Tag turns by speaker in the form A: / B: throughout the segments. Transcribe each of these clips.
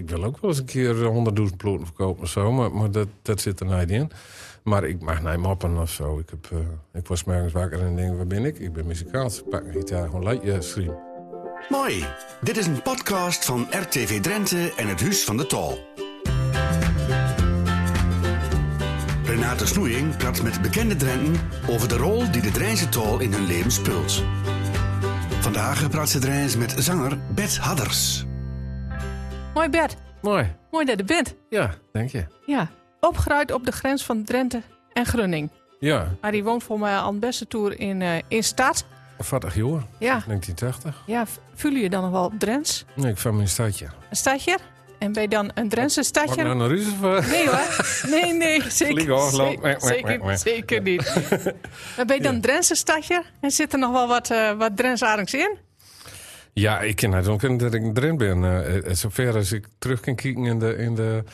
A: ik wil ook wel eens een keer 100.000 ploeten verkopen of zo, maar, maar dat, dat zit er niet in. Maar ik mag niet mappen of zo. Ik, heb, eh, ik was morgens wakker en denk, waar ben ik? Ik ben muzikaal. Ik pak een gitaar, gewoon leidje stream.
B: Mooi. Dit is een podcast van RTV Drenthe en het Huis van de Tal. Renate Snoeing praat met bekende Drenten over de rol die de Drijnse Tal in hun leven speelt. Vandaag praat ze Drijns met zanger Bert Hadders.
C: Mooi Bert,
A: Mooi.
C: mooi dat je bent.
A: Ja, denk je.
C: Ja, opgeruid op de grens van Drenthe en Grunning.
A: Ja,
C: Maar die woont voor mij aan het beste toer in, eh, in stad.
A: 40 jaar,
C: Ja,
A: 1980.
C: ja, v- voel je dan nog wel op Drents?
A: Nee, ik van mijn stadje.
C: Een stadje? En ben je dan een Drentse
A: Mag ik
C: stadje?
A: nou naar Ruus of, eh?
C: Nee hoor, nee, nee,
A: Vlieg
C: zeker,
A: afloop.
C: zeker, zeker, zeker niet. Maar ben je
A: Ja.
C: dan een Drentse stadje? En zit er nog wel wat, eh wat Drents-aardigs in?
A: Ja, ik ken het ook dat ik erin ben. Eh, eh, zover als ik terug kan kijken in de, in de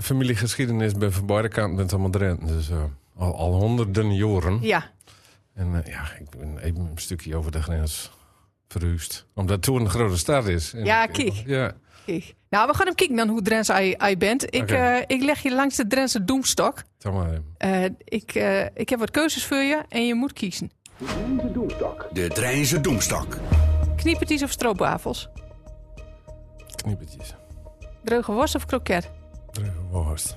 A: familiegeschiedenis... ben van beide kanten ben het allemaal Drenthe. Dus eh, al, al honderden jaren.
C: Ja,
A: En eh, ja, ik ben even een stukje over de grens verhuisd. Omdat toen een grote stad is. En
C: Ja,
A: ik-
C: kijk.
A: Ja,
C: kijk. Nou, we gaan hem kijken dan hoe Drents je bent. Ik,
A: Oké.
C: eh, ik leg je langs de Drentse doemstok.
A: dan maar. even.
C: Eh, ik, eh, ik heb wat keuzes voor je en je moet kiezen.
B: De Drijnse Doemstak.
C: Kniepertjes of stroopwafels?
A: Kniepertjes.
C: Dreuge worst of kroket?
A: Druge worst.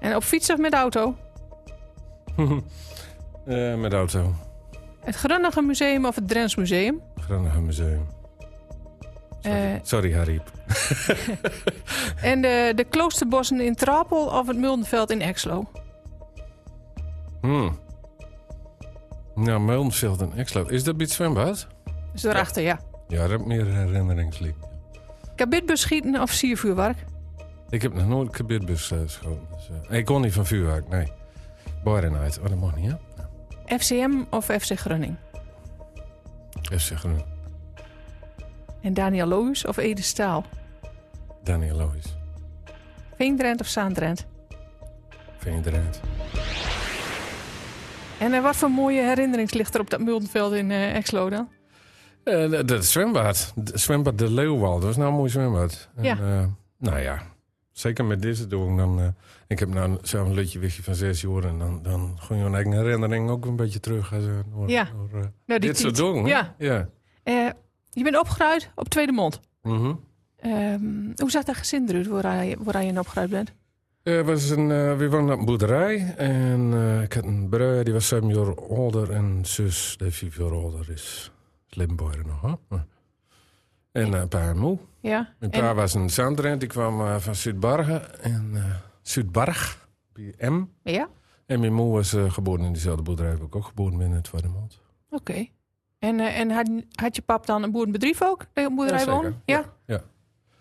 C: En op fiets of met auto?
A: Eh, met auto.
C: Het Grunnige Museum of het Drents Museum?
A: Grondige Museum. Sorry,
C: Eh.
A: Sorry Harry.
C: En de, de kloosterbossen in Trapel of het Muldenveld in Exlo?
A: Hmm. Nou, Meulenveld en Exlo. Is dat bij het zwembad?
C: Dus daarachter, ja.
A: Ja, dat heb ik meer herinneringslied.
C: Kabitbus schieten of siervuurwerk?
A: Ik heb nog nooit een kabitbus eh, geschoten. Dus, eh, ik kon niet van vuurwerk, nee. Barenheid. Oh, dat mag niet, hè?
C: FCM of FC Grunning?
A: Even zeggen,
C: En Daniel Loos of Ede Staal?
A: Daniel Lois.
C: Veendrent of Zaandrent?
A: Vind je eruit?
C: En eh, wat voor mooie herinnering ligt er op dat Muldenveld in eh, Exlo dan?
A: Eh, dat- dat zwembad. De- zwembad De Leeuwwal. Dat was nou een mooi zwembad. En,
C: Ja.
A: eh, nou ja, zeker met deze doen. Dan, eh, ik heb nou zelf een lutje wichtje van zes jaar. En dan, dan gooi je een eigen herinnering ook een beetje terug. Als, een door,
C: Ja.
A: door, eh,
C: Nou,
A: dit soort
C: tiet.
A: doen.
C: Ja.
A: ja.
C: Eh, je bent opgeruid op Tweede Mond.
A: Mhm.
C: Ehm, hoe zag dat gezin eruit waar je, waar je in opgeruimd bent?
A: Er was een, eh, we woonden op een boerderij en eh, ik had een broer, die was zeven jaar ouder en een zus, die vijf jaar ouder is. Slimboer nog, hè? Ja. En eh, een paar en moe.
C: Ja.
A: Mijn
C: En-
A: pa was een zandrent, die kwam eh, van Zuidbargen en eh, Zuidbarg, bij M.
C: ja?
A: En mijn moe was eh, geboren in diezelfde boerderij, waar ik ook geboren ben in het Tweede Mond.
C: Oké. En, eh, en had, had je pap dan een boerenbedrijf ook? Dat je op boerderij
A: Jazeker,
C: woonde? Ja?
A: ja, ja.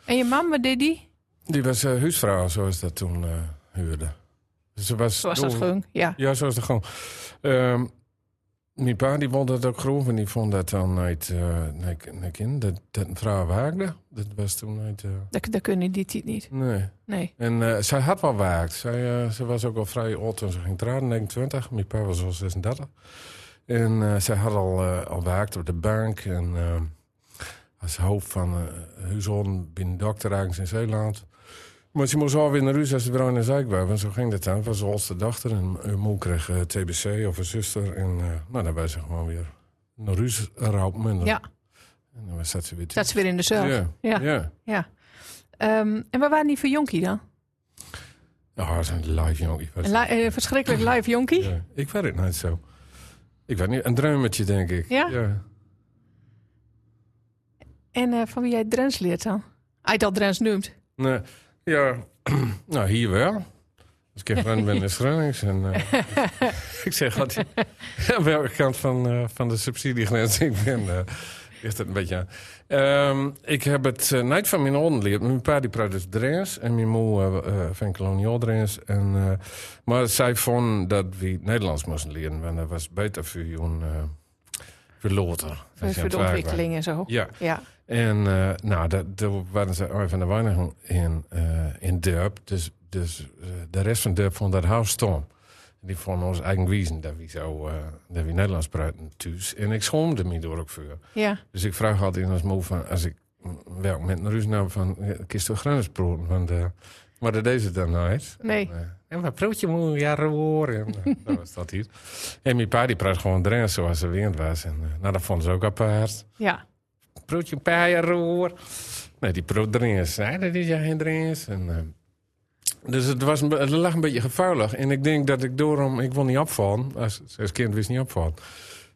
C: En je mam, wat deed die?
A: Die was eh, huisvrouw, zoals dat toen eh, huurde. Ze was
C: Zoals dat
A: dol-
C: gewoon. Ja.
A: Ja, zo is het gewoon. Ehm, mijn pa die vond dat ook grof en die vond dat dan niet, eh niet, niet in. Dat, dat een vrouw waakte, dat was toen niet... eh,
C: Dat, dat kun je in die tijd niet.
A: nee.
C: Nee.
A: En eh, zij had wel waakt. Zij, eh, ze was ook al vrij oud toen ze ging trouwen, 29. Mijn pa was al 36. En eh, zij had al, eh, al waakt op de bank. En eh, als hoofd van eh huishouden binnen dokter ergens in Zeeland. Maar ze moest alweer naar huis als ze bruin en ziek was. En zo ging dat dan. Het was de oudste dochter. En hun moe kreeg eh, TBC of een zuster. En eh, nou, dan was ze gewoon weer naar huis rauw minder.
C: Ja.
A: En dan zat ze weer
C: Dat is weer in de
A: thuis.
C: zelf.
A: Ja,
C: Ja.
A: ja.
C: Ehm, en waar waren die voor jonkie dan?
A: Ja, dat is een live jongen.
C: Een li- eh, verschrikkelijk live jonkie?
A: Ja, ik weet het niet zo. Ik weet niet, een druimertje denk ik.
C: Ja? En eh, van wie jij Drens leert dan? Hij dat Drens noemt.
A: Nee, ja. nou, hier wel. Dus ik heb gewoon ben in Schrunnings en eh, ik zeg wat aan welke kant van, eh, van de subsidiegrens ik ben. eh, ligt het een beetje aan. Ehm, ik heb het eh, niet van mijn onden geleerd. Mijn pa die praat dus Drents en mijn moe eh, eh, van koloniaal Drents. En, eh, maar zij vond dat we Nederlands moesten leren, want dat was beter voor je eh voor later.
C: Voor,
A: Als je
C: voor de
A: aan het werk was.
C: ontwikkeling en zo.
A: Ja,
C: Ja.
A: en eh, nou, dat- daar waren ze een van de weinigen in, eh in Durp. Dus, dus eh, de rest van Durp vond dat hout stom. Die vonden ons eigen wiezen dat we zo eh, dat we Nederlands praten thuis. En ik schoomde me door ook voor.
C: ja.
A: Dus ik vraag altijd aan ons moe van, als ik werk met Ruus nou van, kist toch grensbrood? Want, eh, maar dat deed ze dan nooit.
C: Nee.
A: En, eh, en wat broodje moet ja roer. En eh, dat was dat hier. En mijn pa die praat gewoon Drents zoals ze wind was. En, eh, nou, dat vonden ze ook apart.
C: Ja.
A: Broodje paaien roer. Nee, die brood Drents. Nee, dat is ja geen Drents. En, eh, dus het, was, een be- het lag een beetje gevuilig. En ik denk dat ik doorom... Ik wil niet opvallen. Als, als kind wist niet opvallen.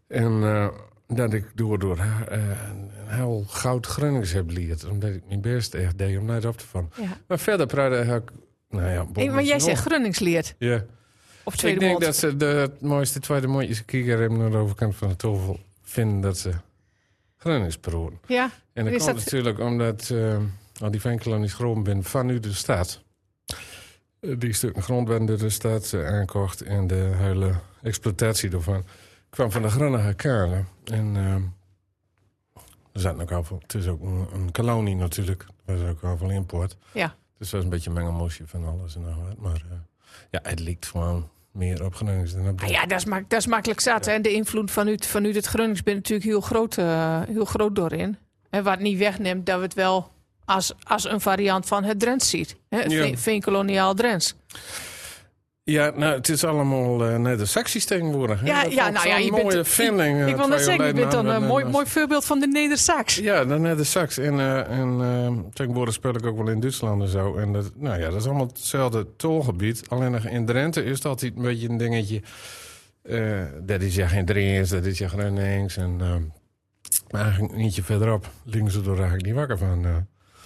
A: En eh, dat ik door, door haar, eh, een heel goud Gronings heb geleerd. Omdat ik mijn best echt deed om niet op te vallen.
C: ja.
A: Maar verder praatte ik... Nou ja,
C: Hey, maar jij zegt Grunningsleerd.
A: Ja.
C: Of
A: Ik
C: tweede
A: denk
C: mond.
A: dat ze de, het mooiste tweede mondje kikker hebben aan de overkant van de tovel vinden dat ze Gronings proeven.
C: Ja.
A: En dat
C: Is
A: komt
C: dat-
A: natuurlijk omdat eh, al die veenkolonies grond ben van nu de staat. Eh, die stukken grond werden door de staat eh, aankocht en de hele exploitatie daarvan kwam van de Groninger Kalen. En ehm er zaten ook al veel, het is ook een, een kolonie natuurlijk, er was ook al veel import.
C: Ja.
A: Dus dat was een beetje een mengelmosje van alles en nog wat. Maar eh, ja, het lijkt gewoon meer op Gronings dan op
C: Ah ja, dat is, mak- dat is makkelijk zat. En de invloed van u, van u het Grunnings bent natuurlijk heel groot, eh, heel groot doorin. En wat niet wegneemt dat we het wel als, als een variant van het Drents ziet. Hè, het
A: Ja.
C: veen- veenkoloniaal Drents.
A: Ja, nou, het is allemaal eh net de saxies tegenwoordig. hè.
C: Ja,
A: Dat
C: ja,
A: vond ik
C: nou ja,
A: zo'n
C: je
A: mooie
C: bent-
A: vinding. eh,
C: Ik wil net
A: twee
C: zeggen, je
A: jaar
C: bent dan
A: geleden
C: een
A: aan-
C: mooi,
A: aan-
C: mooi voorbeeld van de Neder-Sax.
A: eh, Ja, dan net de sax. En, eh, en eh, tegenwoordig speel ik ook wel in Duitsland en zo. En dat, nou ja, dat is allemaal hetzelfde tolgebied. Alleen nog in Drenthe is dat altijd een beetje een dingetje. eh, dat is ja geen Drents, dat is ja Gronings. En ehm, maar eigenlijk ietsje verderop, links door raak ik niet wakker van. eh.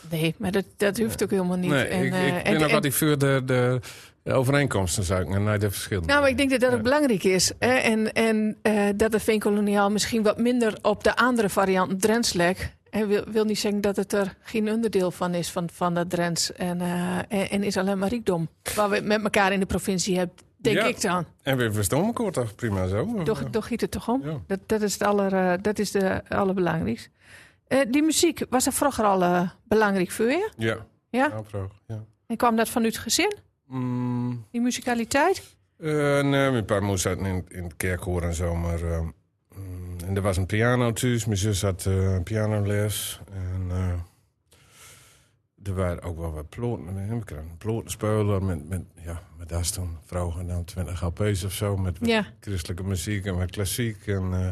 C: Nee, maar dat, dat hoeft ook helemaal niet.
A: Nee,
C: en,
A: ik,
C: eh,
A: ik
C: en-
A: ben ook
C: en-
A: wat die voor de, de, de overeenkomsten, zou ik. En naar de verschillen.
C: Nou, maar ik denk dat dat
A: Ja.
C: ook belangrijk is. hè. En, en eh, dat de veenkoloniaal misschien wat minder op de andere variant Drents legt. En wil, wil niet zeggen dat het er geen onderdeel van is, van, van dat Drents. En, eh, en, en is alleen maar rijkdom. Waar we met elkaar in de provincie hebben, denk
A: Ja.
C: ik dan.
A: En we verstaan elkaar toch prima zo?
C: Toch, toch giet het toch om?
A: Ja.
C: Dat, dat is het aller, eh, dat is de allerbelangrijkste. Eh, die muziek, was dat vroeger al eh, belangrijk voor je?
A: Ja.
C: Ja?
A: Afroog, ja.
C: En kwam dat vanuit het gezin,
A: Mm,
C: die muzikaliteit?
A: eh, nee, mijn pa moest zaten in, in het kerkkoor en zo, maar... eh, mm, en er was een piano thuis, mijn zus had eh pianoles. En eh, er waren ook wel wat ploten. hè. We kregen ploten spelen met, met, ja, met daar toen vroeger dan 20 LP's of zo. Met wat
C: Ja.
A: christelijke muziek en wat klassiek. En, eh,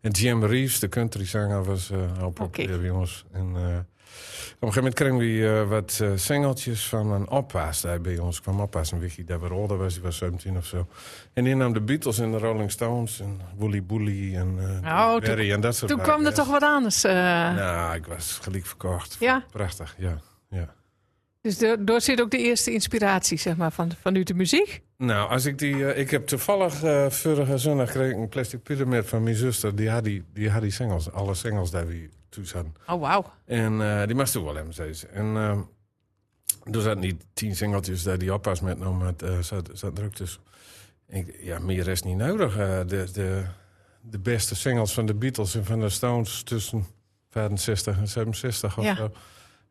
A: en Jim Reeves, de countryzanger, was eh heel populair bij ons. En, eh, op een gegeven moment kregen we eh, wat eh, singeltjes van een oppaas daar bij ons. kwam oppaas, een wichie daar waar ouder was, die was 17 of zo. En die nam de Beatles en de Rolling Stones en Woolly Bully en eh,
C: Nou,
A: Berry en dat soort
C: Toen kwam er
A: dat
C: toch wat anders. eh,
A: Nou, ik was gelijk verkocht.
C: Ja?
A: Prachtig, ja. ja.
C: Dus daar daar zit ook de eerste inspiratie, zeg maar, van, van u de muziek.
A: Nou, als ik die. eh, ik heb toevallig eh vorige zondag kreeg ik een plastic pyramid van mijn zuster. Die had die, die, had die singles, alle singles daar we toen hadden.
C: Oh, wauw.
A: En eh, die mag toen wel hebben, zei ze. En ehm, er zaten niet tien singeltjes daar die oppas met nam, maar eh zat, zat druk tussen. En ik, ja, meer is niet nodig. Eh, de, de, de beste singles van de Beatles en van de Stones tussen 65 en 67 of
C: Ja.
A: zo.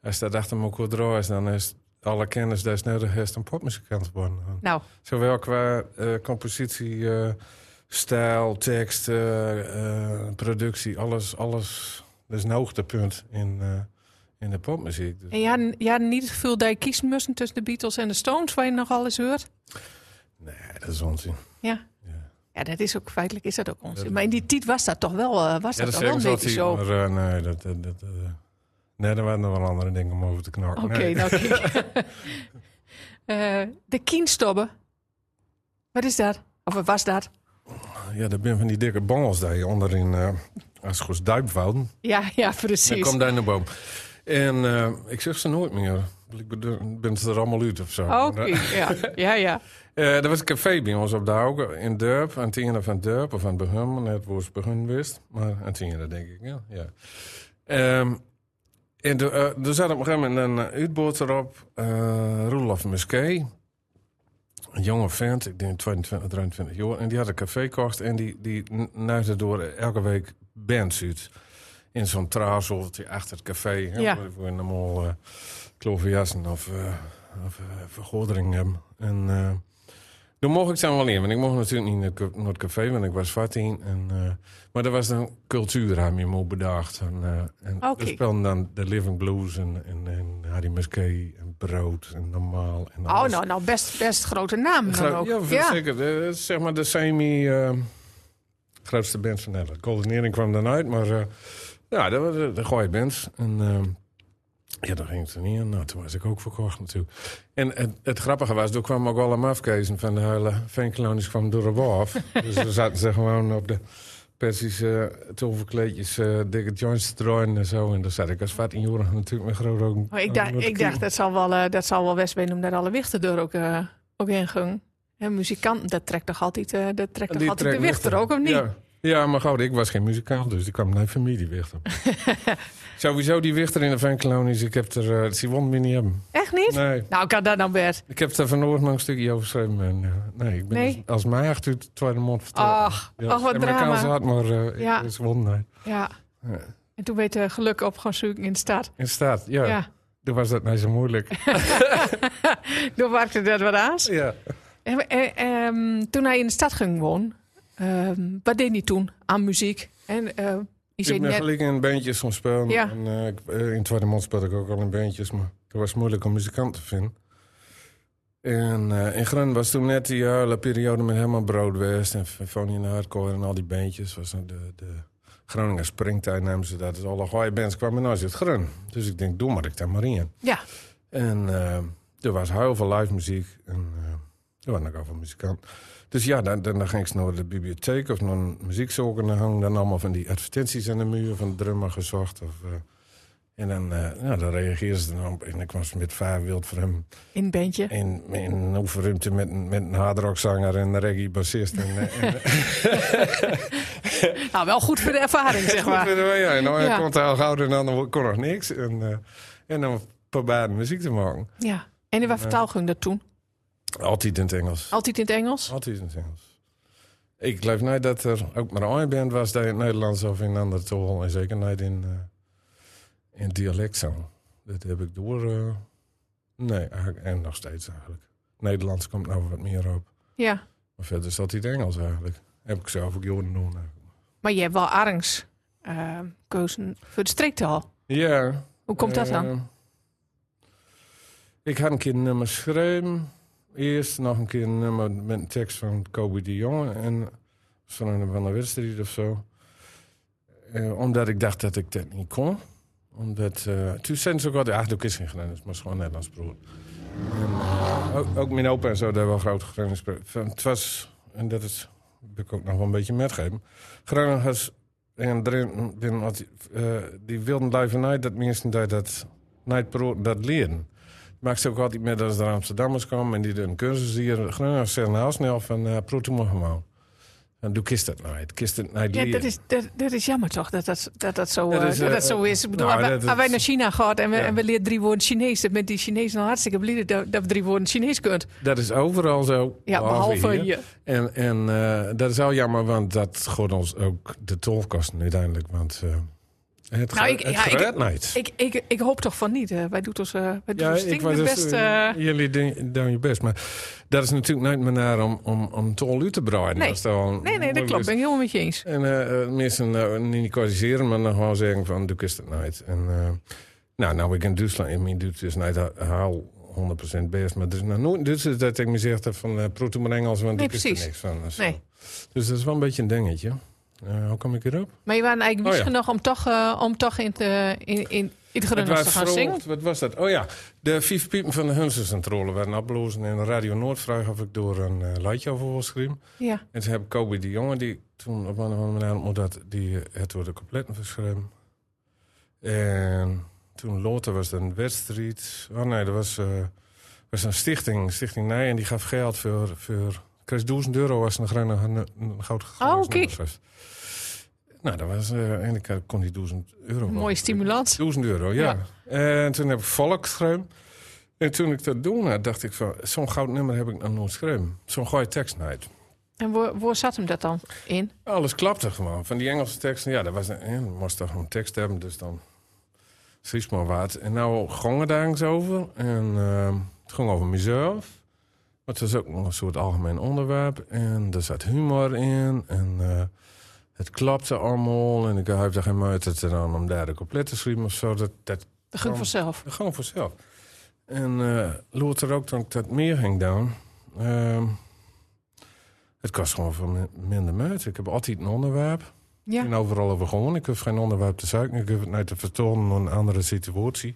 A: Als dat achter elkaar draait, dan is alle kennis die is nodig is een popmuzikant worden.
C: Nou,
A: Zowel qua eh, compositie, eh, stijl, tekst, eh, eh, productie, alles, alles. Dat is een hoogtepunt in, eh, in de popmuziek. Dus-
C: en jij had- jij had niet het gevoel dat je kiezen moest tussen de Beatles en de Stones, waar je nogal eens hoort?
A: nee, dat is onzin.
C: Ja.
A: Ja.
C: Ja, dat is ook feitelijk is dat ook onzin. Maar in die tijd was dat toch wel, eh, was
A: Ja,
C: dat
A: dat
C: toch wel
A: zeggen
C: een
A: ze
C: beetje
A: altijd.
C: zo.
A: Maar, eh, nee, dat, dat, dat, eh, nee, er waren nog wel andere dingen om over te knakken.
C: Oké,
A: Nee.
C: nou kijk. Eh, de kienstobben. Wat is dat? Of wat was dat?
A: Ja, dat ben van die dikke bangels daar onderin. eh als goed duipwouden.
C: Ja, ja,
A: Dan
C: precies.
A: kwam daar in de boom. En eh, ik zeg ze nooit meer. Ik bedoel, ben ze er allemaal uit of zo.
C: Oh, Oké, ja. Ja, ja.
A: Eh, er was een café bij ons op de Hauge in Durp. Aan het einde van Durp of aan het begin, net waar het begin wist. Maar aan het einde denk ik, ja. ja. Ehm, en de- eh, er zat op een gegeven moment een eh, uitboord erop. eh Roelof Muskee. Een jonge vent, ik denk 22, 23 jaar. En die had een café gekocht en die, die n- nuigde door elke week bands uit. In zo'n traasoltje achter het café. hè,
C: Ja.
A: waar- Voor een allemaal eh kloverjassen of, eh of eh, vergodering hebben. En... eh, Toen mocht ik dan wel in, want ik mocht natuurlijk niet naar het cu- naar het café, want ik was 14. En, eh, maar er was dan cultuur aan je moet bedacht. En, eh en
C: Oké.
A: er speelden dan The Living Blues en, en, en Harry Musquet en Brood en Normaal. En
C: Oh,
A: alles.
C: nou, nou best, best grote naam dan ook.
A: Ja, zeker. De- zeg maar de semi eh, grootste band van Nederland. Coördinering kwam dan uit, maar eh, ja, dat was eh, de gooie band. En eh, ja, dan ging het er niet aan. Nou, toen was ik ook verkocht natuurlijk. En het, het grappige was, toen kwam ook wel een mafkezen van de hele veenkolonies kwam door de af. dus dan zaten ze gewoon op de Persische toverkleedjes, eh, dikke joints te draaien en zo. En daar zat ik als 14-jarige natuurlijk met groot roken.
C: Maar Oh, ik dacht, ik dacht dat zal wel, eh dat zal wel best zijn omdat alle wichten er ook, eh ook heen ging. En muzikanten, dat trekt toch altijd, eh, dat trekt toch
A: Die
C: altijd de
A: trekt
C: wichter
A: weg.
C: ook, of niet?
A: Ja. ja, maar goed, ik was geen muzikaal, dus ik kwam naar familie Wichter. Sowieso die Wichter in de Venkelonies, ik heb er... eh ze won me niet hebben.
C: Echt niet?
A: Nee,
C: Nou, kan dat nou best?
A: ik heb daar vanochtend nog een stukje over geschreven. En, eh, nee, ik ben
C: Nee?
A: als, als maagd uit de tweede mond vertrokken.
C: Ach,
A: Ja,
C: ach, wat
A: en mijn kans
C: drama.
A: had, maar eh,
C: Ja.
A: ik- ze won nee.
C: Ja.
A: Ja.
C: En toen werd eh, geluk op gaan zoeken in de stad.
A: In staat, ja.
C: Ja.
A: Toen was dat nou zo moeilijk.
C: Toen maakte dat wat aan.
A: ja.
C: En, eh, ehm, toen hij in de stad ging wonen, ehm, wat deed hij toen aan muziek? En eh je zei
A: Ik ben
C: net,
A: gelijk in bandjes gaan spelen.
C: Ja.
A: En, eh, ik- eh, in Tweede Mond speelde ik ook al in bandjes, maar het was moeilijk om muzikant te vinden. En eh, in Grun was toen net die hele periode met helemaal Broodwest en Fanny en Hardcore en al die bandjes. Was dan de, de Groningen Springtijd namen ze dat. Dus alle goeie bands kwamen nou uit Grun. Dus ik denk, doe maar ik daar maar in.
C: ja,
A: En eh, er was heel veel live muziek. En eh, er waren ook heel veel muzikanten. Dus ja, dan, dan, dan ging ik naar de bibliotheek of naar een muziekzoeker. En dan hangen dan allemaal van die advertenties aan de muur van drummer gezocht. Of, eh, en dan, eh ja, dan reageerden ze dan op. En dan kwam ze met vijf wild voor hem.
C: in een bandje.
A: In, in een oefenruimte met, een- met een hardrockzanger en een reggae-bassist. En, eh, en, eh.
C: Nou, wel goed voor de ervaring, zeg maar.
A: ja, en dan
C: Ja.
A: komt hij al gauw en dan kon nog niks. En, eh, en dan probeerde muziek te maken.
C: Ja. En in wat vertaal ging dat toen?
A: Altijd in het Engels.
C: Altijd in het Engels?
A: Altijd in het Engels. Ik geloof niet dat er ook maar een band was die in het Nederlands of in een andere tol. En zeker niet in, eh, in dialect zong. Dat heb ik door. eh, nee, eigenlijk- en nog steeds eigenlijk. Nederlands komt nou wat meer op.
C: Ja.
A: Maar verder is altijd Engels eigenlijk. Heb ik zelf ook jorden doen. eigenlijk.
C: Maar je hebt wel Arngs eh, keuzen voor de streektaal.
A: Ja.
C: Hoe komt dat dan?
A: Eh, ik had een keer een nummer schreeuwen. Eerst nog een keer een nummer met een tekst van Kobe de Jonge. En van een van de wedstrijd of zo. Eh, omdat ik dacht dat ik dat niet kon. Omdat, eh, toen zijn ze ook altijd, ach, dat is geen grens, maar is gewoon Nederlands broer. En, eh, ook, ook mijn opa en zo, daar wel grote grens. Het was, en dat is, heb ik ook nog wel een beetje metgegeven. Groningers en Drenten, binnen wat die- eh, die wilden luiven dat mensen die dat niet pro- dat leren. Maakt ze ook altijd met als de Amsterdammers komen en die doen een cursus hier. Groningers zeggen heel snel van, uh, proet hem gewoon. En doe kist dat nooit, kist het nooit
C: Ja,
A: leren.
C: dat is, dat, dat is jammer toch, dat dat, dat, dat, zo,
A: Dat
C: eh,
A: is,
C: dat,
A: eh,
C: dat zo is. Ik bedoel,
A: nou,
C: als wij-
A: dat- dat-
C: als wij naar China gaan en we,
A: Ja.
C: en we leren drie woorden Chinees... dan bent die Chinees nou hartstikke blij dat, dat we drie woorden Chinees kunt.
A: Dat is overal zo.
C: Ja, behalve je.
A: En, en eh, dat is wel jammer, want dat gooit ons ook de tolkosten uiteindelijk. Want eh, het
C: Nou,
A: gaat
C: ik-
A: het
C: ja, ik-
A: gered niet.
C: Ik, ik, ik hoop toch van niet. eh, wij doen ons, eh, wij doen
A: Ja,
C: ons stinkende
A: dus,
C: best.
A: eh,
C: eh,
A: jullie doen doen je best. Maar dat is natuurlijk niet meer naar om, om, om tol uit te breiden.
C: Nee.
A: Dat is dan-
C: nee, nee, dat klopt. Ben ik helemaal met je eens.
A: En eh, eh, mensen nou niet corrigeren, maar dan gewoon zeggen van, doe kist het nooit. En eh, nou, nou, ik in Duitsland, ik bedoel, het is niet ha- haal 100% best, maar er is nou nooit dus dat ik me zeg dat van, eh proet hem maar Engels, want
C: Nee,
A: ik is er
C: precies.
A: niks van. en zo.
C: Nee.
A: Dus dat is wel een beetje een dingetje. Eh, hoe kom ik erop?
C: Maar je waren eigenlijk
A: Oh, ja.
C: wist genoeg om toch, eh, om toch in, het, eh, in, in, in het
A: Het
C: Grunnos te
A: was
C: gaan zingen.
A: verrold, wat was dat? Oh ja, de vijf piepen van de Hunsencentrole werden opgelozen. En Radio Noord vraag of ik door een eh, liedje over wil schrijven.
C: Ja.
A: En toen heb ik Kobe die jongen, die toen op een of andere manier ontmoet had, die eh, het door de compleet geschreven. En toen later was er een wedstrijd. Oh nee, er was, eh, was een stichting, Stichting Nij, en die gaf geld voor. voor kreeg 1000 euro als een, groene, een, een goud
C: Oh,
A: goud-
C: kijk.
A: was. Nou, dat was, eh, en ik eh, kon die 1000 euro. wel
C: Mooie
A: gebruiken.
C: stimulans.
A: 1000 euro, ja. En toen heb ik volk geschreven. En toen ik dat doen had, dacht ik van... Zo'n goud nummer heb ik nog nooit geschreven. Zo'n goeie tekst niet.
C: En waar, waar zat hem dat dan in?
A: Alles klapte gewoon. Van die Engelse teksten, ja, dat was... een- Ja, dan moest toch gewoon tekst hebben, dus dan... Precies ehm, maar wat. En nou gong het daar eens over. En eh, het ging over mezelf. Maar het was ook nog een soort algemeen onderwerp. En er zat humor in. En eh, het klapte allemaal. En ik heb daar geen moeite te doen om daar de compleet te schrijven of zo. Dat, dat
C: Dat ging
A: Oh.
C: vanzelf.
A: dat gewoon vanzelf. En eh later ook toen ik dat meer ging doen. ehm, het kost gewoon veel min- minder moeite. Ik heb altijd een onderwerp.
C: Ja.
A: En overal over gewoon. Ik hoef geen onderwerp te zoeken. Ik hoef het niet te vertonen aan een andere situatie.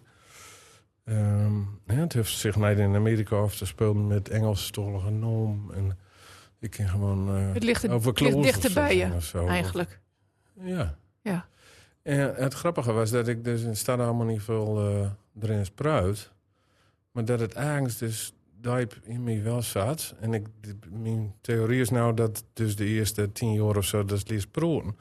A: Ehm, hè, het heeft zich niet in Amerika af te spelen met Engelstalige norm. En ik kan gewoon eh,
C: Het ligt, er-
A: over
C: het
A: klozen
C: ligt dichter bij je,
A: of zo.
C: eigenlijk.
A: Ja.
C: Ja.
A: En het grappige was dat ik dus, er staat allemaal niet veel eh, erin spruit. Maar dat het angst dus diep in mij wel zat. En ik, d- mijn theorie is nou dat dus de eerste tien jaar of zo dat lees proeven.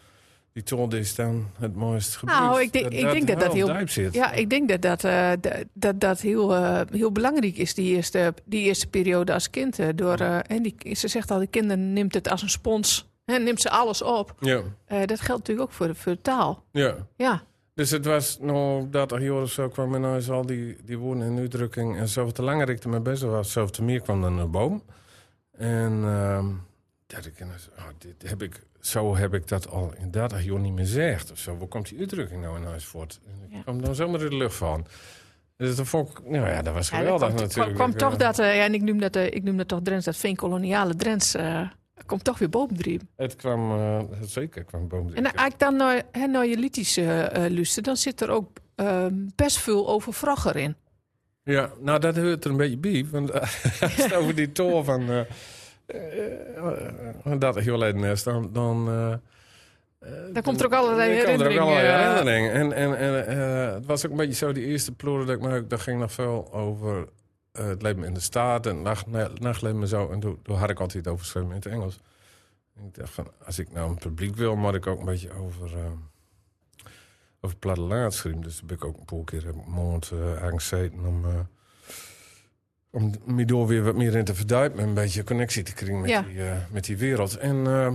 A: Die tolde is dan het mooist gebruikt.
C: Nou, ik denk- ik denk dat dat
A: wel
C: heel-
A: diep zit.
C: Ja, ik denk dat dat, eh, dat- dat, dat heel, eh, heel belangrijk is, die eerste, die eerste periode als kind. eh, door, eh, en die, ze zegt al, de kinderen neemt het als een spons. Hè, neemt ze alles op.
A: Ja,
C: Eh, dat geldt natuurlijk ook voor, voor taal.
A: ja.
C: Ja,
A: Dus het was nog dat jaar of zo kwam en nou is al die, die woorden en uitdrukking. En zoveel te langer ik ermee bezig was, zoveel te meer kwam dan een boom. En ehm dat ik, ineens, oh, dit heb ik, zo heb ik dat al in dat jaar niet meer gezegd. Of zo, waar komt die uitdrukking nou in huis voort? En ik
C: Ja.
A: kwam dan zomaar in de lucht van. Dus dat vond ik, nou ja, dat was
C: Ja, dat
A: geweldig
C: kwam,
A: natuurlijk.
C: kwam toch
A: Eh,
C: dat, eh, ja, en ik noem dat, eh, ik noem dat toch Drents, dat veenkoloniale Drents, eh, komt toch weer bovendrijven.
A: Het kwam, eh, zeker kwam boom.
C: En als ik dan naar, hè, naar je liedjes eh, eh, luister, dan zit er ook eh, best veel over Vrager in.
A: Ja, nou dat hoort er een beetje bij. Want eh, als het over die tol van eh, eh, eh, dat heel leiden is, dan... dan eh, eh,
C: Daar komt er ook allerlei
A: dan komt er ook
C: herinneringen,
A: allerlei
C: eh.
A: herinneringen. En, en, en eh, het was ook een beetje zo, die eerste ploeren dat ik maakte, daar ging nog veel over eh, het leven in de staat en nacht, na- nachtleven en zo. En toen, toen had ik altijd over zwemmen in het Engels. En ik dacht van, als ik nou een publiek wil, moet ik ook een beetje over... eh over platelaat schreef. Dus daar ben ik ook een paar keer heb ik mijn mond eh, aangezeten om, eh om me door weer wat meer in te verduipen. En een beetje connectie te krijgen met,
C: Ja.
A: die, eh, met die wereld. En eh,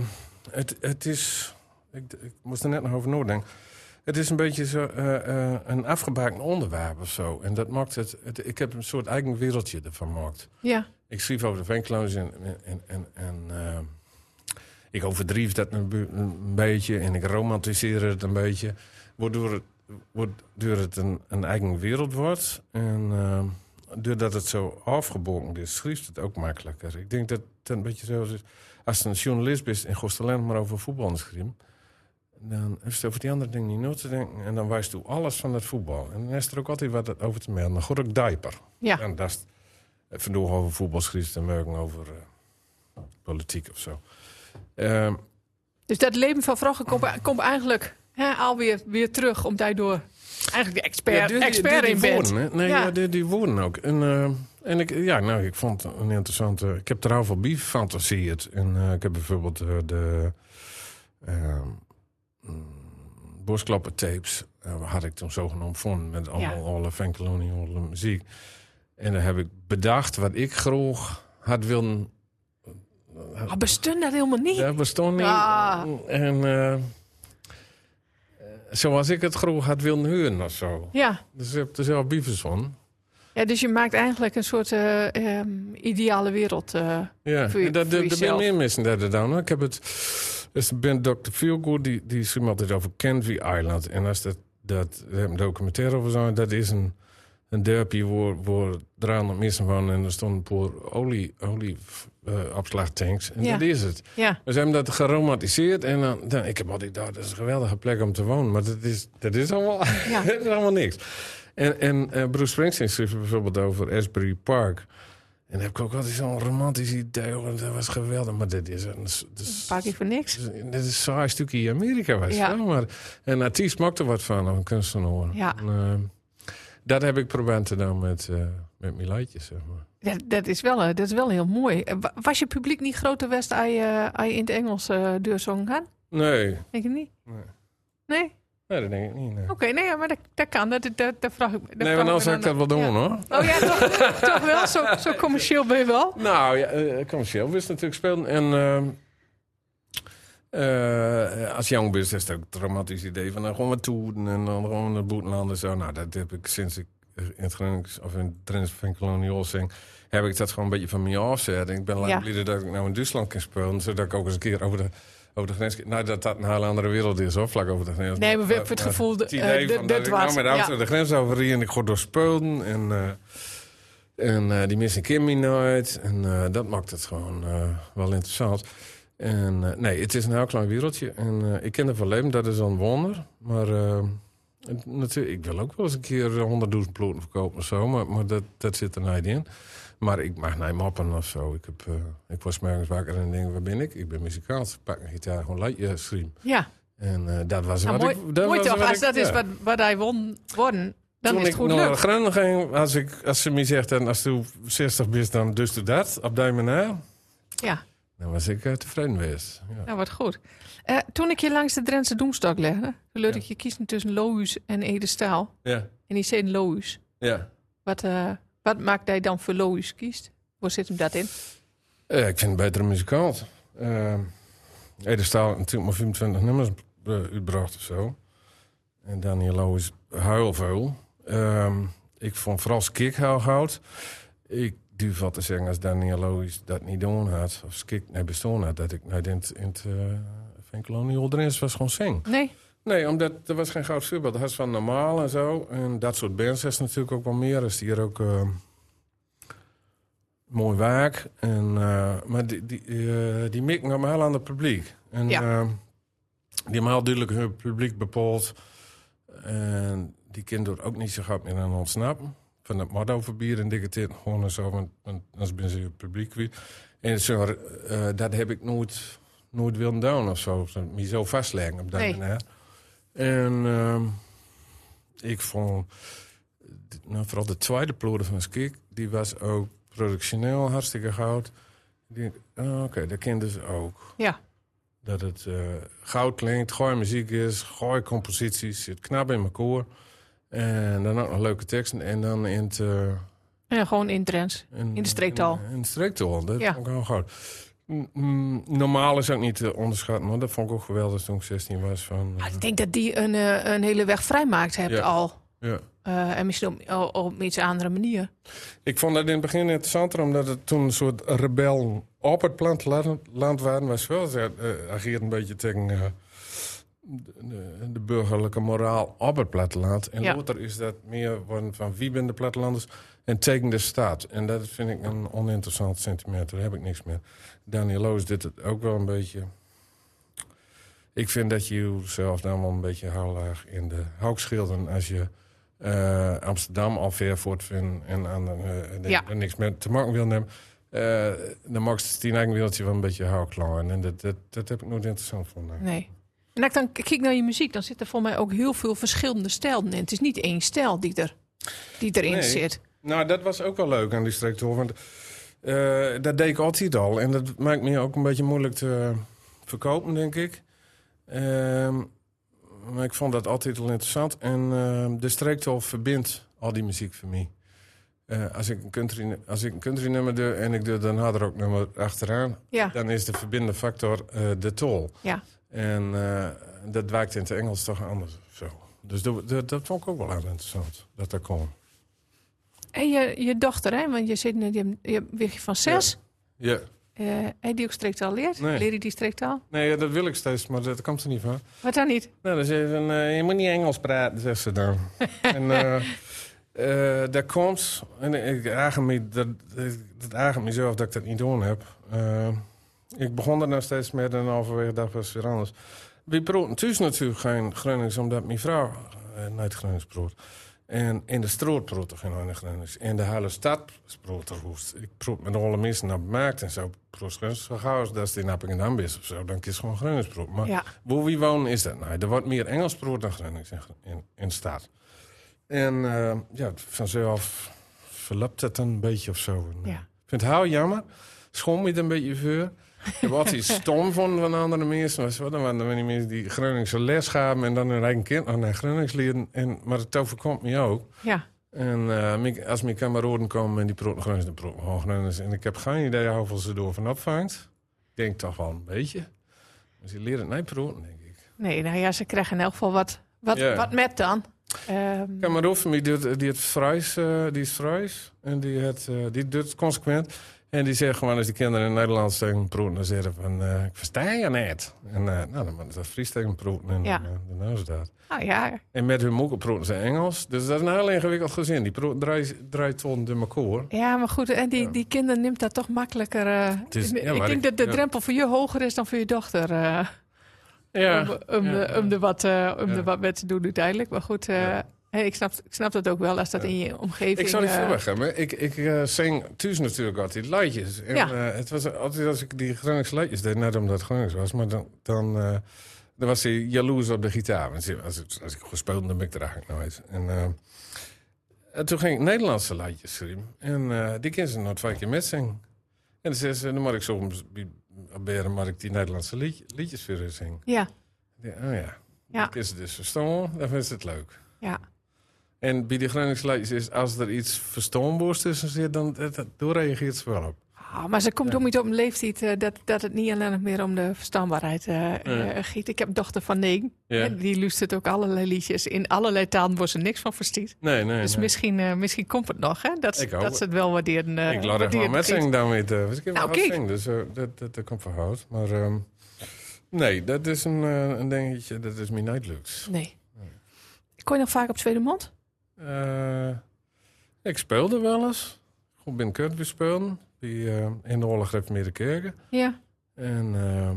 A: het, het is, ik, ik moest er net nog over nadenken. Het is een beetje zo, eh, eh, een afgebakend onderwerp of zo. En dat maakt het, het- ik heb een soort eigen wereldje ervan gemaakt.
C: Ja,
A: Ik schreef over de Veenkloos en, en, en, en eh, ik overdreef dat een, bu- een beetje en ik romantiseer het een beetje. Waardoor het, waardoor het een, een eigen wereld wordt. En eh, doordat het zo afgebogen is, schreef het ook makkelijker. Ik denk dat het een beetje zo is. Als je een journalist bent en gooit alleen maar over voetbal schreef... dan is het over die andere dingen niet nooit te denken. En dan wijst u alles van het voetbal. En dan is er ook altijd wat over te melden. Dan gooi ik diaper.
C: ja.
A: En dat is eh, vandoor over voetbalschriften en merken over eh, politiek of zo. Ehm,
C: Dus dat leven van Vrager komt, komt eigenlijk hè, alweer weer terug, omdat je door eigenlijk de expert,
A: ja, doe die-
C: expert
A: doe die
C: in bent.
A: woorden, hè. Nee,
C: Ja.
A: ja. die, die woorden ook. En, eh, en ik, ja, nou, ik vond het een interessante... Ik heb er al veel bij gefantaseerd. En eh, ik heb bijvoorbeeld eh, de... ehm borstklappertapes eh, had ik toen zogenaamd van met allemaal alle Van Colony, alle muziek. En dan heb ik bedacht wat ik graag had willen... had-
C: Maar Oh, bestun dat helemaal niet.
A: Ja, bestond niet.
C: Ah.
A: En eh, eh, zoals ik het groen had willen huren of zo.
C: Ja.
A: Dus ik heb er zelf bievers van.
C: ja, dus je maakt eigenlijk een soort eh, ehm, ideale wereld. eh.
A: Ja,
C: Voor je-
A: en dat
C: voor
A: dat- er zijn
C: jezelf.
A: meer mensen daar dan. hoor. Ik heb het. Dus de band Dr. Feelgood, die, die schreef altijd over Canvey Island. En als dat, dat er een documentaire over zijn, dat is een, een derpje waar, waar 300 mensen van en er stonden een paar olie, olie eh, opslagtanks. En
C: Ja.
A: dat is het.
C: ja.
A: Dus ze hebben dat geromantiseerd. En dan, dan, ik heb altijd daar dat is een geweldige plek om te wonen. Maar dat is, dat is, allemaal,
C: Ja.
A: dat is allemaal niks. En, en eh, Bruce Springsteen schreef bijvoorbeeld over Asbury Park. En daar heb ik ook altijd zo'n romantisch idee. hoor, dat was geweldig. Maar dit is een... Dit is,
C: Pak je voor niks.
A: dit is een saai stukje Amerika was.
C: Ja.
A: Ja. Maar een artiest maakt er wat van, of een kunstenaar.
C: Ja.
A: En, eh, dat heb ik proberen te doen met, eh met mijn liedjes, zeg maar.
C: Dat, dat, is wel, eh, dat is wel heel mooi. Eh, wa- Was je publiek niet groter West als je, als je in het Engels eh deurzong gaan?
A: Nee,
C: Denk je niet?
A: Nee.
C: Nee? Oké,
A: nee dat denk ik niet. Nee,
C: nee, ja, maar dat, dat kan. Dat, dat, dat, dat vraag ik dat
A: nee
C: vraag
A: maar
C: me
A: dan zou ik
C: dan-
A: dat wel doen,
C: Ja.
A: hoor.
C: Oh ja, toch, toch wel? Zo, zo commercieel ben je wel?
A: Nou ja, eh, commercieel wist natuurlijk spelen. En ehm, eh, als jong wist, is het ook een dramatisch idee van nou, gewoon wat toeren en dan gewoon naar het boetenland en zo. Nou, dat heb ik sinds ik in het Gronings of in het Drents van Kolonial zing, heb ik dat gewoon een beetje van me afzetten. Ik ben lang
C: Ja.
A: blij dat ik nou in Duitsland kan spelen, zodat ik ook eens een keer over de, over de grens... Nou, dat dat een hele andere wereld is, hoor, vlak over de grens.
C: Nee, maar we-
A: Maar-
C: voor het
A: maar
C: gevoel,
A: het
C: eh,
A: idee
C: dit-
A: van
C: dit
A: dat ik
C: was-
A: nou met de auto
C: ja.
A: de grens overrie en ik ga door Spelen en... eh, en eh, die mensen kennen me nooit. En eh, dat maakt het gewoon eh, wel interessant. En eh, nee, het is een heel klein wereldje. En eh, ik ken er van leven, dat is een wonder. Maar eh, het- natuurlijk, ik wil ook wel eens een keer eh, 100.000 ploten verkopen of zo. Maar, maar dat, dat zit er niet in. Maar ik mag niet mappen of zo. Ik, heb, eh, ik was 's morgens wakker en denk, waar ben ik? Ik ben muzikaal. Ik pak een gitaar, gewoon liedje stream.
C: Ja,
A: En eh, dat was
C: nou,
A: wat
C: mooi,
A: ik... Dat
C: mooi
A: was
C: toch.
A: wat
C: Als
A: ik-
C: dat is
A: ja.
C: wat, wat hij won worden, dan
A: Toen
C: is het
A: ik
C: goed
A: naar de
C: lukt.
A: grens ging, als, ik, als ze me zegt, en als je 60 bent, dan dus doe dat, op die manier.
C: Ja,
A: Dan was ik eh, tevreden geweest. Ja.
C: nou wat goed. Eh, toen ik je langs de Drentse Doemstok legde, toen leurde ik je kiezen tussen Loos en Edestaal.
A: ja,
C: En die zei Loos.
A: ja.
C: Wat, eh, wat maakt hij dan voor Loos kiest? Waar zit hem dat in?
A: Eh, ik vind het beter een muzikant. Uh, Edestaal natuurlijk maar 25 nummers eh, uitbracht of zo. En Daniel is huilveul. Ehm ik vond vooral Skik heel goud. Ik durf wat te zeggen als Daniel Loos dat niet doen had. Of Skik niet bestaan had. Dat ik niet in het... In het eh, Van Colonial erin was gewoon zing.
C: Nee?
A: Nee, omdat er was geen goud voorbeeld. Dat was van normaal en zo. En dat soort bands is natuurlijk ook wel meer. Is hier ook eh, mooi waak. En, eh, maar die, die, eh, die mikken hem heel aan het publiek. En
C: Ja.
A: eh, die hebben heel duidelijk hun publiek bepaald. En die kinderen ook niet zo gauw meer aan ontsnappen. Van dat motto verbieden en dikke tit. Gewoon en zo, want, want anders ben ze het publiek weer. En zo, eh, dat heb ik nooit, nooit willen doen of zo. Me zo vastleggen op dat
C: Nee.
A: manier. En ehm, ik vond, d- nou, vooral de tweede ploer van Skik, die was ook productioneel hartstikke goud. Ik denk, oh, oké, dat kent dus ook.
C: Ja.
A: Dat het eh, goud klinkt, gooi muziek is, gooi composities, zit knap in mijn koor. En dan ook nog leuke teksten. En dan in het... eh,
C: Ja, gewoon in Drents. In de streektaal.
A: In, in de streektaal, dat
C: Ja.
A: vond ik wel goud. Mm, mm, Normaal is ook niet te onderschatten, maar dat vond ik ook geweldig toen ik 16 was. Van, eh,
C: Ah, ik denk dat die een, eh, een hele weg vrijmaakt hebt
A: Ja.
C: al.
A: ja.
C: Eh, en misschien op, o- op iets andere manier.
A: Ik vond dat in het begin interessanter, omdat het toen een soort rebel op het plant- la- land waren. Maar ze wel ze, eh, ageerden een beetje tegen eh, de, de burgerlijke moraal op het platteland. En
C: Ja.
A: later is dat meer van, van wie ben de plattelanders en tegen de staat. En dat vind ik een oninteressant sentiment, daar heb ik niks meer. Daniel Loos dit het ook wel een beetje. Ik vind dat je jezelf dan wel een beetje heel laag in de hoek schilderen als je eh, Amsterdam al ver voortvindt en aan de, eh, de-
C: Ja.
A: er niks meer te maken wil nemen. Eh dan mag het tien eigen wieltje wel een beetje houtklaar. En dat, dat, dat heb ik nooit interessant gevonden.
C: Nee. En als ik dan k- kijk naar je muziek, dan zitten er voor mij ook heel veel verschillende stijlen in. Het is niet één stijl die, er, die erin
A: Nee.
C: zit.
A: Nou, dat was ook wel leuk aan die streektour. Want eh, dat deed ik altijd al. En dat maakt me ook een beetje moeilijk te verkopen, denk ik. Ehm, maar ik vond dat altijd wel interessant. En ehm, de streektour verbindt al die muziek voor mij. Eh, als, ik een country, als ik een country nummer doe en ik doe dan harder ook nummer achteraan...
C: Ja,
A: dan is de verbindende factor eh, de tol.
C: ja.
A: En eh, dat werkt in het Engels toch anders. of Zo. Dus dat, dat, dat vond ik ook wel heel interessant, dat dat kon.
C: En je, je dochter, hè? want je zit net, je, je weegje van zes.
A: Ja.
C: Eh hij die ook streektaal leert?
A: Nee.
C: Leer je die streektaal?
A: Nee, ja, dat wil ik steeds, maar dat komt er niet van.
C: Wat dan niet?
A: Nou, dan zegt ze, van, eh, je moet niet Engels praten, zegt ze dan. en eh, eh, daar komt, en ik eigen me, dat, dat eigen mezelf dat ik dat niet doen heb. Eh, ik begon er nou steeds meer en halverwege dag was het weer anders. We proeven thuis natuurlijk geen Gronings, omdat mijn vrouw eh, niet Gronings proort. En in de stroot proort er geen andere Gronings. In de hele stad proort er hoest. Ik proef met alle mensen naar de markt en zo. Proort Gronings zo gauw als dat ze in Appingedam is of zo. Dan kies gewoon Gronings proort. Maar
C: Ja.
A: Waar wie wonen is dat nou? Er wordt meer Engels proort dan Gronings in, in, in staat. En eh, ja, vanzelf verlapt het een beetje of zo. En,
C: Ja.
A: eh, Ik vind het heel jammer. Schoon me het een beetje voor. Ik heb altijd stom van, van andere mensen. Maar zo, dan waren er die mensen die Groningse les gaven... en dan hun eigen kind aan naar Gronings leren. En, maar het overkomt me ook.
C: Ja.
A: En eh, mijn- als mijn kameraden komen en die proten Gronings... dan proten gewoon Gronings. En ik heb geen idee hoeveel ze door van opvangt. Ik denk toch wel een beetje. Maar ze leren het niet proten, denk ik.
C: Nee, nou ja, ze krijgen in elk geval wat, wat,
A: Ja.
C: wat met dan. Ehm,
A: Ja, maar Roef, die, doet- die, het Fries, eh, die is Fries. En die, het, eh, die doet het consequent. En die zegt gewoon als die kinderen in Nederland tegen proeten, dan zeggen van, eh, ik versta je niet. En eh, nou, dan moet dat Fries tegen proeten en
C: Ja.
A: dan, eh, dan is dat.
C: nou ja,
A: En met hun moeken proeten ze Engels. Dus dat is een heel ingewikkeld gezin. Die pro- draait, draait ton de elkaar.
C: ja, maar goed, en die, die kinderen neemt dat toch makkelijker. eh.
A: is-
C: ik
A: ja,
C: ik
A: maar
C: denk
A: ik-
C: dat de
A: ja.
C: drempel voor je hoger is dan voor je dochter. eh, om,
A: Ja,
C: om,
A: ja,
C: de- om er wat, eh, om
A: Ja.
C: er wat mee te doen uiteindelijk. Maar goed, eh,
A: Ja.
C: hey, ik, snap, ik snap dat ook wel als dat in je omgeving...
A: Ik zou niet
C: eh,
A: verwachten, maar ik, ik eh, zing thuis natuurlijk altijd liedjes. En,
C: Ja.
A: eh, het was altijd als ik die Gronings liedjes deed, net omdat het Gronings was, maar dan, dan, eh, dan was hij jaloers op de gitaar. Want ze- als, ik- als ik goed speelde, dan ben ik er eigenlijk nooit. En, eh, en toen ging ik Nederlandse liedjes schrijven. En eh, die kan ze nog twee keer met zingen. En dan zei ze, "Nou, dan moet ik soms bij- bij haar moet ik die Nederlandse lied- liedjes voor haar zingen.
C: Ja,
A: Ja, oh ja,
C: Ja.
A: dat is het dus verstaan, dan vindt ze het leuk.
C: ja.
A: En bij die Groningslijst is, als er iets verstoombaars tussen zit, dan dat, dat, daar reageert ze wel op.
C: Ah, maar ze komt ook niet op een leeftijd eh, dat, dat het niet alleen nog meer om de verstaanbaarheid eh eh, giet. Ik heb een dochter van negen.
A: Ja.
C: En Die luistert ook allerlei liedjes. In allerlei talen wordt ze niks van verstiet.
A: Nee, nee.
C: Dus
A: nee.
C: misschien, eh, misschien komt het nog, hè? Dat, ze-
A: Ik hoop
C: dat
A: het.
C: ze het wel waarderen. eh,
A: ik laat haar gewoon
C: waarderen
A: met
C: giet.
A: zingen daarmee. te- Dus ik heb
C: Nou,
A: wel
C: kijk.
A: zingen, dus eh, dat, dat, dat komt van hout. Maar ehm, nee, dat is een, eh, een dingetje, dat is mijn nightlux.
C: Nee. Kon je nog vaak op Tweede Mond?
A: Eh ik speelde wel eens. Goed ben Kurt spelen. Die, eh, in de Oorlog Reformeerde Kerken.
C: Ja.
A: En ehm,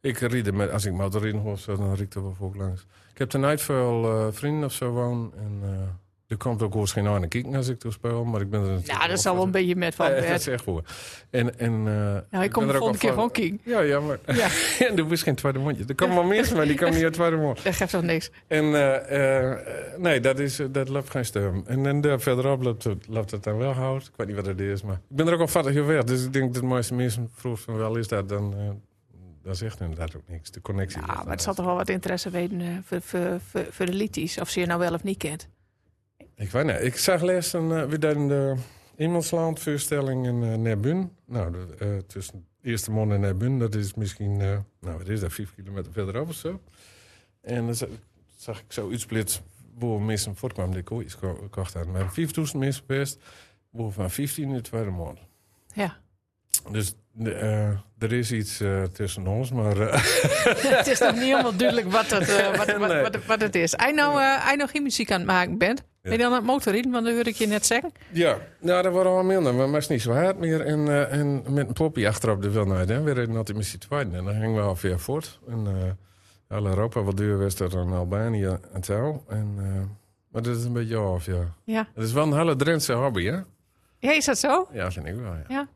A: ik ried er met, als ik motorrijden hoor, zo, dan ried ik er wel voor langs. Ik heb tonight veel eh, vrienden of zo woon. En eh, er komt ook wel geen aan kijken als ik toe speel. Maar ik ben er natuurlijk
C: Nou, daar zal wel een beetje met van.
A: Nee, dat
C: Bert.
A: is echt voor. En, en, eh,
C: Nou, ik kom
A: ben
C: de
A: er ook
C: volgende keer
A: wel
C: gewoon king.
A: Ja, ja, maar
C: Ja.
A: en er is geen tweede mondje. Er kan wel meer, maar die kan niet uit tweede mond.
C: Dat geeft toch niks.
A: En eh, eh, nee, dat, is, eh, dat loopt geen stem. En, en daar verderop loopt het, loopt het dan wel hout. Ik weet niet wat het is, maar ik ben er ook al vattig over weg. Dus ik denk dat de meeste mensen vroeg van wel is dat, dan eh dat zegt inderdaad ook niks. De connectie.
C: Ja,
A: ligt
C: Nou, maar
A: daar.
C: het zal toch wel wat interesse weten eh, voor, voor, voor, voor de liedjes. Of ze je nou wel of niet kent.
A: Ik weet niet. Ik zag les een eh, we deden de Iemandsland voorstelling in eh Nerbun. Nou, de, eh, tussen Eerste Mon en Nerbun, dat is misschien, eh, nou, wat is dat, vijf kilometer verderop of zo. En dan za- zag ik zo uitsplitsen waar mensen voortkwam die kooitjes ko- kocht aan. Maar 5000 mensen best, waarvan 15 in de tweede maand.
C: Ja.
A: Dus de, eh, er is iets eh, tussen ons, maar eh,
C: het is nog niet helemaal duidelijk wat het, eh, wat, wat,
A: Nee.
C: wat, wat het is. Als je nou, eh, als je nou geen muziek aan het maken bent, ben je dan aan het motorrijden? Want dat hoorde ik je net zeggen.
A: Ja, nou, dat waren wel minder. Maar het was niet zo hard meer. En, eh, en met een poppie achterop de wilnaad. hè. We reden altijd met z'n tweeën. En dan gingen we alweer voort. En eh heel Europa wat duur was er dan Albanië en touw. En, eh, maar dat is een beetje af, ja.
C: Ja.
A: Het is wel een hele Drentse hobby, hè?
C: ja, is dat zo?
A: Ja, vind ik wel, ja.
C: Ja.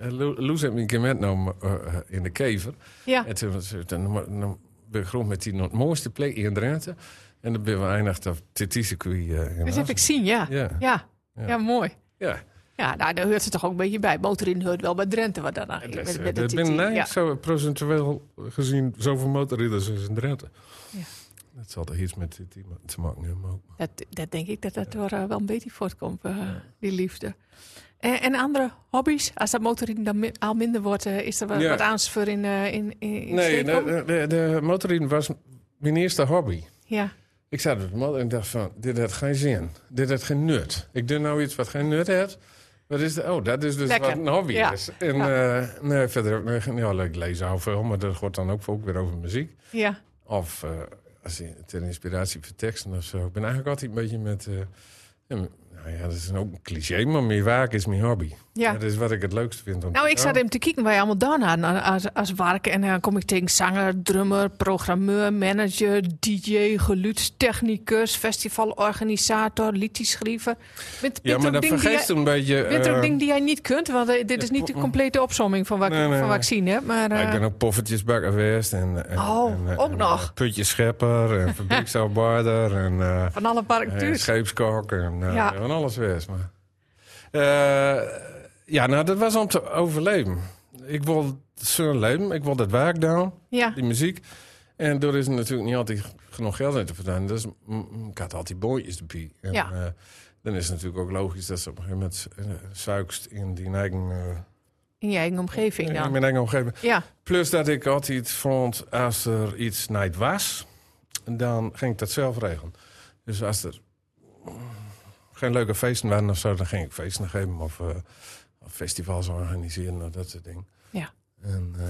A: Eh, Lou- Loes heeft me een keer metgenomen eh, eh, in de kever.
C: Ja.
A: En toen was het, eh, dan, dan ben ik groen met die mooiste plek in Drenthe. En dan ben we eindigd op Titisecui. Uh,
C: Dat heb ik zien, ja. Ja,
A: Ja,
C: ja. mooi.
A: ja.
C: Ja, nou, daar hoort ze toch ook een beetje bij. Motorrijden hoort wel bij Drenthe, wat daarna.
A: Ah, Ik
C: met-
A: ben
C: met de
A: er
C: TT,
A: binnen
C: ja.
A: eigenlijk zo procentueel gezien zoveel motorridders als in Drenthe.
C: Ja.
A: Dat zal er iets met dit iemand te maken hebben. ook.
C: Dat, dat denk ik dat dat door eh, wel een beetje voortkomt, eh, die liefde. En, en andere hobby's? Als dat motorrijden dan mi- al minder wordt, eh, is er wat,
A: Ja.
C: wat aans voor in, eh, in, in, in
A: Nee,
C: Stekom?
A: de, de, de motorrijden was mijn eerste hobby.
C: Ja,
A: Ik zat op de motor en dacht van, dit had geen zin. Dit had geen nut. Ik doe nou iets wat geen nut heeft. Wat is de, oh, dat is dus
C: Lekker.
A: wat een hobby
C: Ja.
A: is. En eh, nee, verder ook, nog- ja, leuk lezen al veel, maar dat hoort dan ook, ook weer over muziek.
C: ja.
A: Of eh, als je ter inspiratie voor teksten of zo. Ik ben eigenlijk altijd een beetje met. eh, ja, m- nou ja, dat is ook een cliché, maar meer waken is mijn hobby.
C: Ja.
A: Dat is wat ik het leukste vind. Om
C: Nou,
A: te
C: ik zat
A: doen.
C: hem te kijken waar je allemaal dan aan als, als werk. En dan kom ik tegen zanger, drummer, programmeur, manager, DJ, geluidstechnicus, festivalorganisator, liedjeschrijver. Bent,
A: Ja,
C: bent
A: maar
C: er
A: dan
C: ook dingen die
A: vergeet
C: jij-
A: je een beetje.
C: bent er ook
A: eh,
C: dingen die jij niet kunt? Want eh, dit is niet de complete opzomming van wat, ik-
A: Nee, nee,
C: van wat
A: nee.
C: ik zie, hè? Maar,
A: ja,
C: eh,
A: nou, ik ben ook poffertjesbakker geweest. En, en,
C: Oh,
A: en, eh,
C: ook
A: en,
C: nog.
A: eh, Putjeschepper en fabrieksarbeider en eh,
C: van alle
A: eh,
C: parken
A: scheepskok en eh,
C: Ja.
A: van alles geweest. Maar, Eh, ja, nou, dat was om te overleven. Ik wil zo'n leven, ik wil dat werk doen.
C: Ja,
A: die muziek. En door is er natuurlijk niet altijd genoeg geld aan te verdienen. Dus mm, mm, ik had altijd booitjes erbij. En,
C: Ja.
A: eh, dan is het natuurlijk ook logisch dat ze op een gegeven moment eh, zuikst in die eigen, eh,
C: in je eigen omgeving
A: in
C: dan.
A: mijn eigen omgeving.
C: Ja,
A: Plus dat ik altijd vond, als er iets niet was... dan ging ik dat zelf regelen. Dus als er geen leuke feesten waren of zo, dan ging ik feesten geven of, eh, of festivals organiseren of dat soort dingen.
C: Ja.
A: En eh,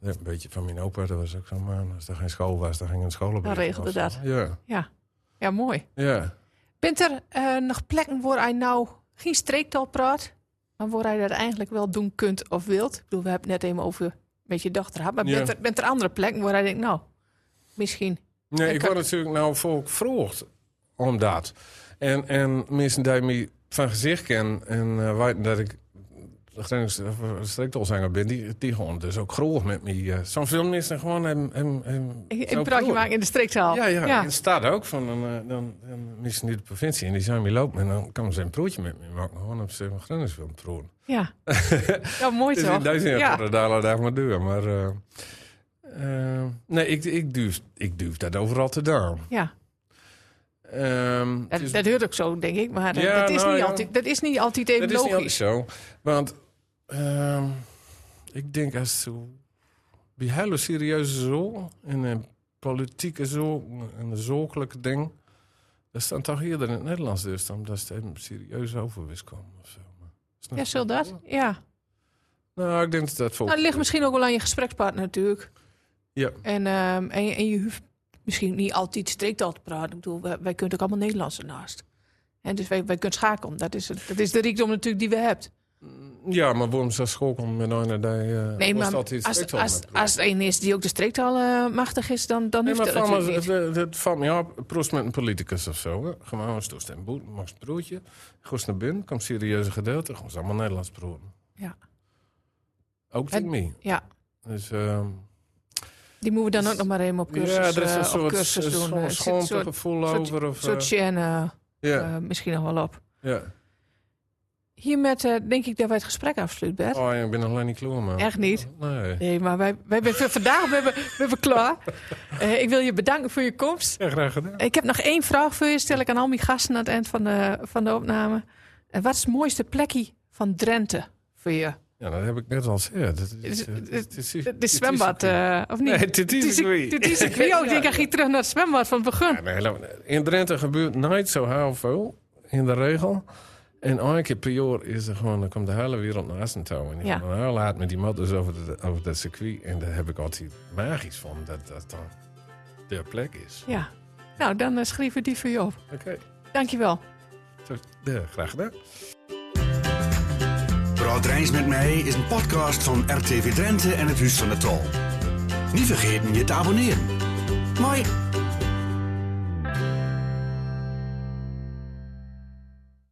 A: ja, een beetje van mijn opa, dat was ook zo. Maar als er geen school was, dan ging een school op.
C: Dan regelde dat.
A: Ja,
C: Ja, ja mooi.
A: ja.
C: Bent er eh, nog plekken waar hij nou geen streektaal praat, maar waar hij dat eigenlijk wel doen kunt of wilt? Ik bedoel, we hebben het net even over met je dochter gehad, maar
A: Ja.
C: bent, er, bent er andere plekken waar hij denkt, nou, misschien.
A: Nee,
C: En
A: ik
C: kan-
A: word natuurlijk nou volk vroeg om dat. En, en mensen die mij van gezicht kennen en eh, weten dat ik streektolzanger ben, die, die gewoon dus ook groeg met mij. eh, Zo'n veel mensen gewoon hem, hem, hem
C: Ik,
A: zo
C: ik praatje
A: vroeg.
C: maken in de streektaal.
A: Ja, ja.
C: Ja.
A: En het staat ook van, dan, eh, dan, dan missen die de provincie en die zijn mee lopen. En dan kan ze een broertje met me maken, gewoon op zijn grens wil proeven.
C: Ja, ja mooi
A: Dus in
C: toch?
A: die zin
C: ja.
A: wordt het daar daar maar duur. Maar eh, eh, nee, ik, ik, duw, ik duw dat overal te down.
C: ja.
A: Ehm, het
C: Dat,
A: is-
C: dat hoort ook zo, denk ik. Maar eh,
A: Ja,
C: dat, is
A: nou
C: niet
A: ja.
C: altijd, dat is niet altijd even
A: dat is
C: logisch.
A: niet altijd zo. Want ehm, ik denk als zo die hele serieuze zool en een politieke zool en een zorgelijke ding, dat staan toch eerder in het Nederlands dus dan dat ze even serieus over wist komen of zo. Maar, snap
C: ja,
A: je?
C: zo dat. Ja.
A: Nou, ik denk dat dat volgt.
C: Nou, dat ligt misschien ook wel aan je gesprekspartner natuurlijk.
A: Ja.
C: En, ehm, en, je- en je hoeft misschien niet altijd streektaal te praten. Ik bedoel, wij, wij kunnen ook allemaal Nederlands ernaast. En dus wij, wij kunnen schakelen. Dat is, het- dat is de rijkdom natuurlijk die we hebben.
A: Ja, maar waarom zou school komen met een die eh
C: Nee,
A: was
C: maar
A: dat
C: als,
A: iets
C: als,
A: seksueel
C: als,
A: met
C: er een is die ook de streektaal eh, machtig is, dan, dan
A: Nee,
C: hoeft
A: maar
C: dat
A: het valt,
C: natuurlijk
A: me,
C: niet.
A: het, het valt me op, proost met een politicus of zo. Hè. Gewoon eens toest en boet, mag een broertje. Goes naar binnen, komt serieuze gedeelte, gewoon allemaal Nederlands proeven.
C: Ja.
A: Ook
C: Het-
A: tegen mij.
C: Ja,
A: Dus, ehm,
C: die moeten we dan ook nog maar even op cursus,
A: ja, er is
C: eh,
A: een
C: op
A: soort
C: cursus doen.
A: scho-
C: Eh, er zit een soort,
A: schoontegevoel
C: soort-
A: over. Of,
C: soort
A: eh,
C: gêne, eh,
A: ja,
C: misschien nog wel op.
A: ja.
C: Hiermet eh, denk ik dat wij het gesprek afsluiten, Bert.
A: Oh, ja, ik ben nog lang niet klaar, man.
C: Echt niet?
A: Nee.
C: Nee, maar wij, wij zijn voor vandaag we hebben, we hebben klaar. Eh, ik wil je bedanken voor je komst.
A: Ja, graag gedaan.
C: Ik heb nog één vraag voor je. Stel ik aan al mijn gasten aan het eind van de, van de opname. Eh, wat is het mooiste plekje van Drenthe voor je?
A: Ja, dat heb ik net al gezegd. Het
C: Het is-
A: is, eh,
C: het-
A: het is- het
C: Het
A: is-
C: zwembad, eh, of niet?
A: Nee, het is
C: is
A: circuit.
C: Het is circuit. Oh, ik denk, ik ga terug naar het zwembad van het begin.
A: Ja, nee, laat maar. In Drenthe gebeurt nooit zo heel veel in de regel. En één keer per jaar is er gewoon, dan komt de hele wereld naar Assen toe. En die
C: Ja.
A: gaan dan heel laat met die motors over, de, over dat circuit. En daar heb ik altijd magisch van, dat dat dan de plek is.
C: Ja. Nou, dan eh, schrijven we die voor je op.
A: Oké,
C: Dankjewel.
A: Zo, ja, graag gedaan.
B: Praat Drijns met mij is een podcast van RTV Drenthe en het Huis van de Tal. Niet vergeten je te abonneren. Mooi.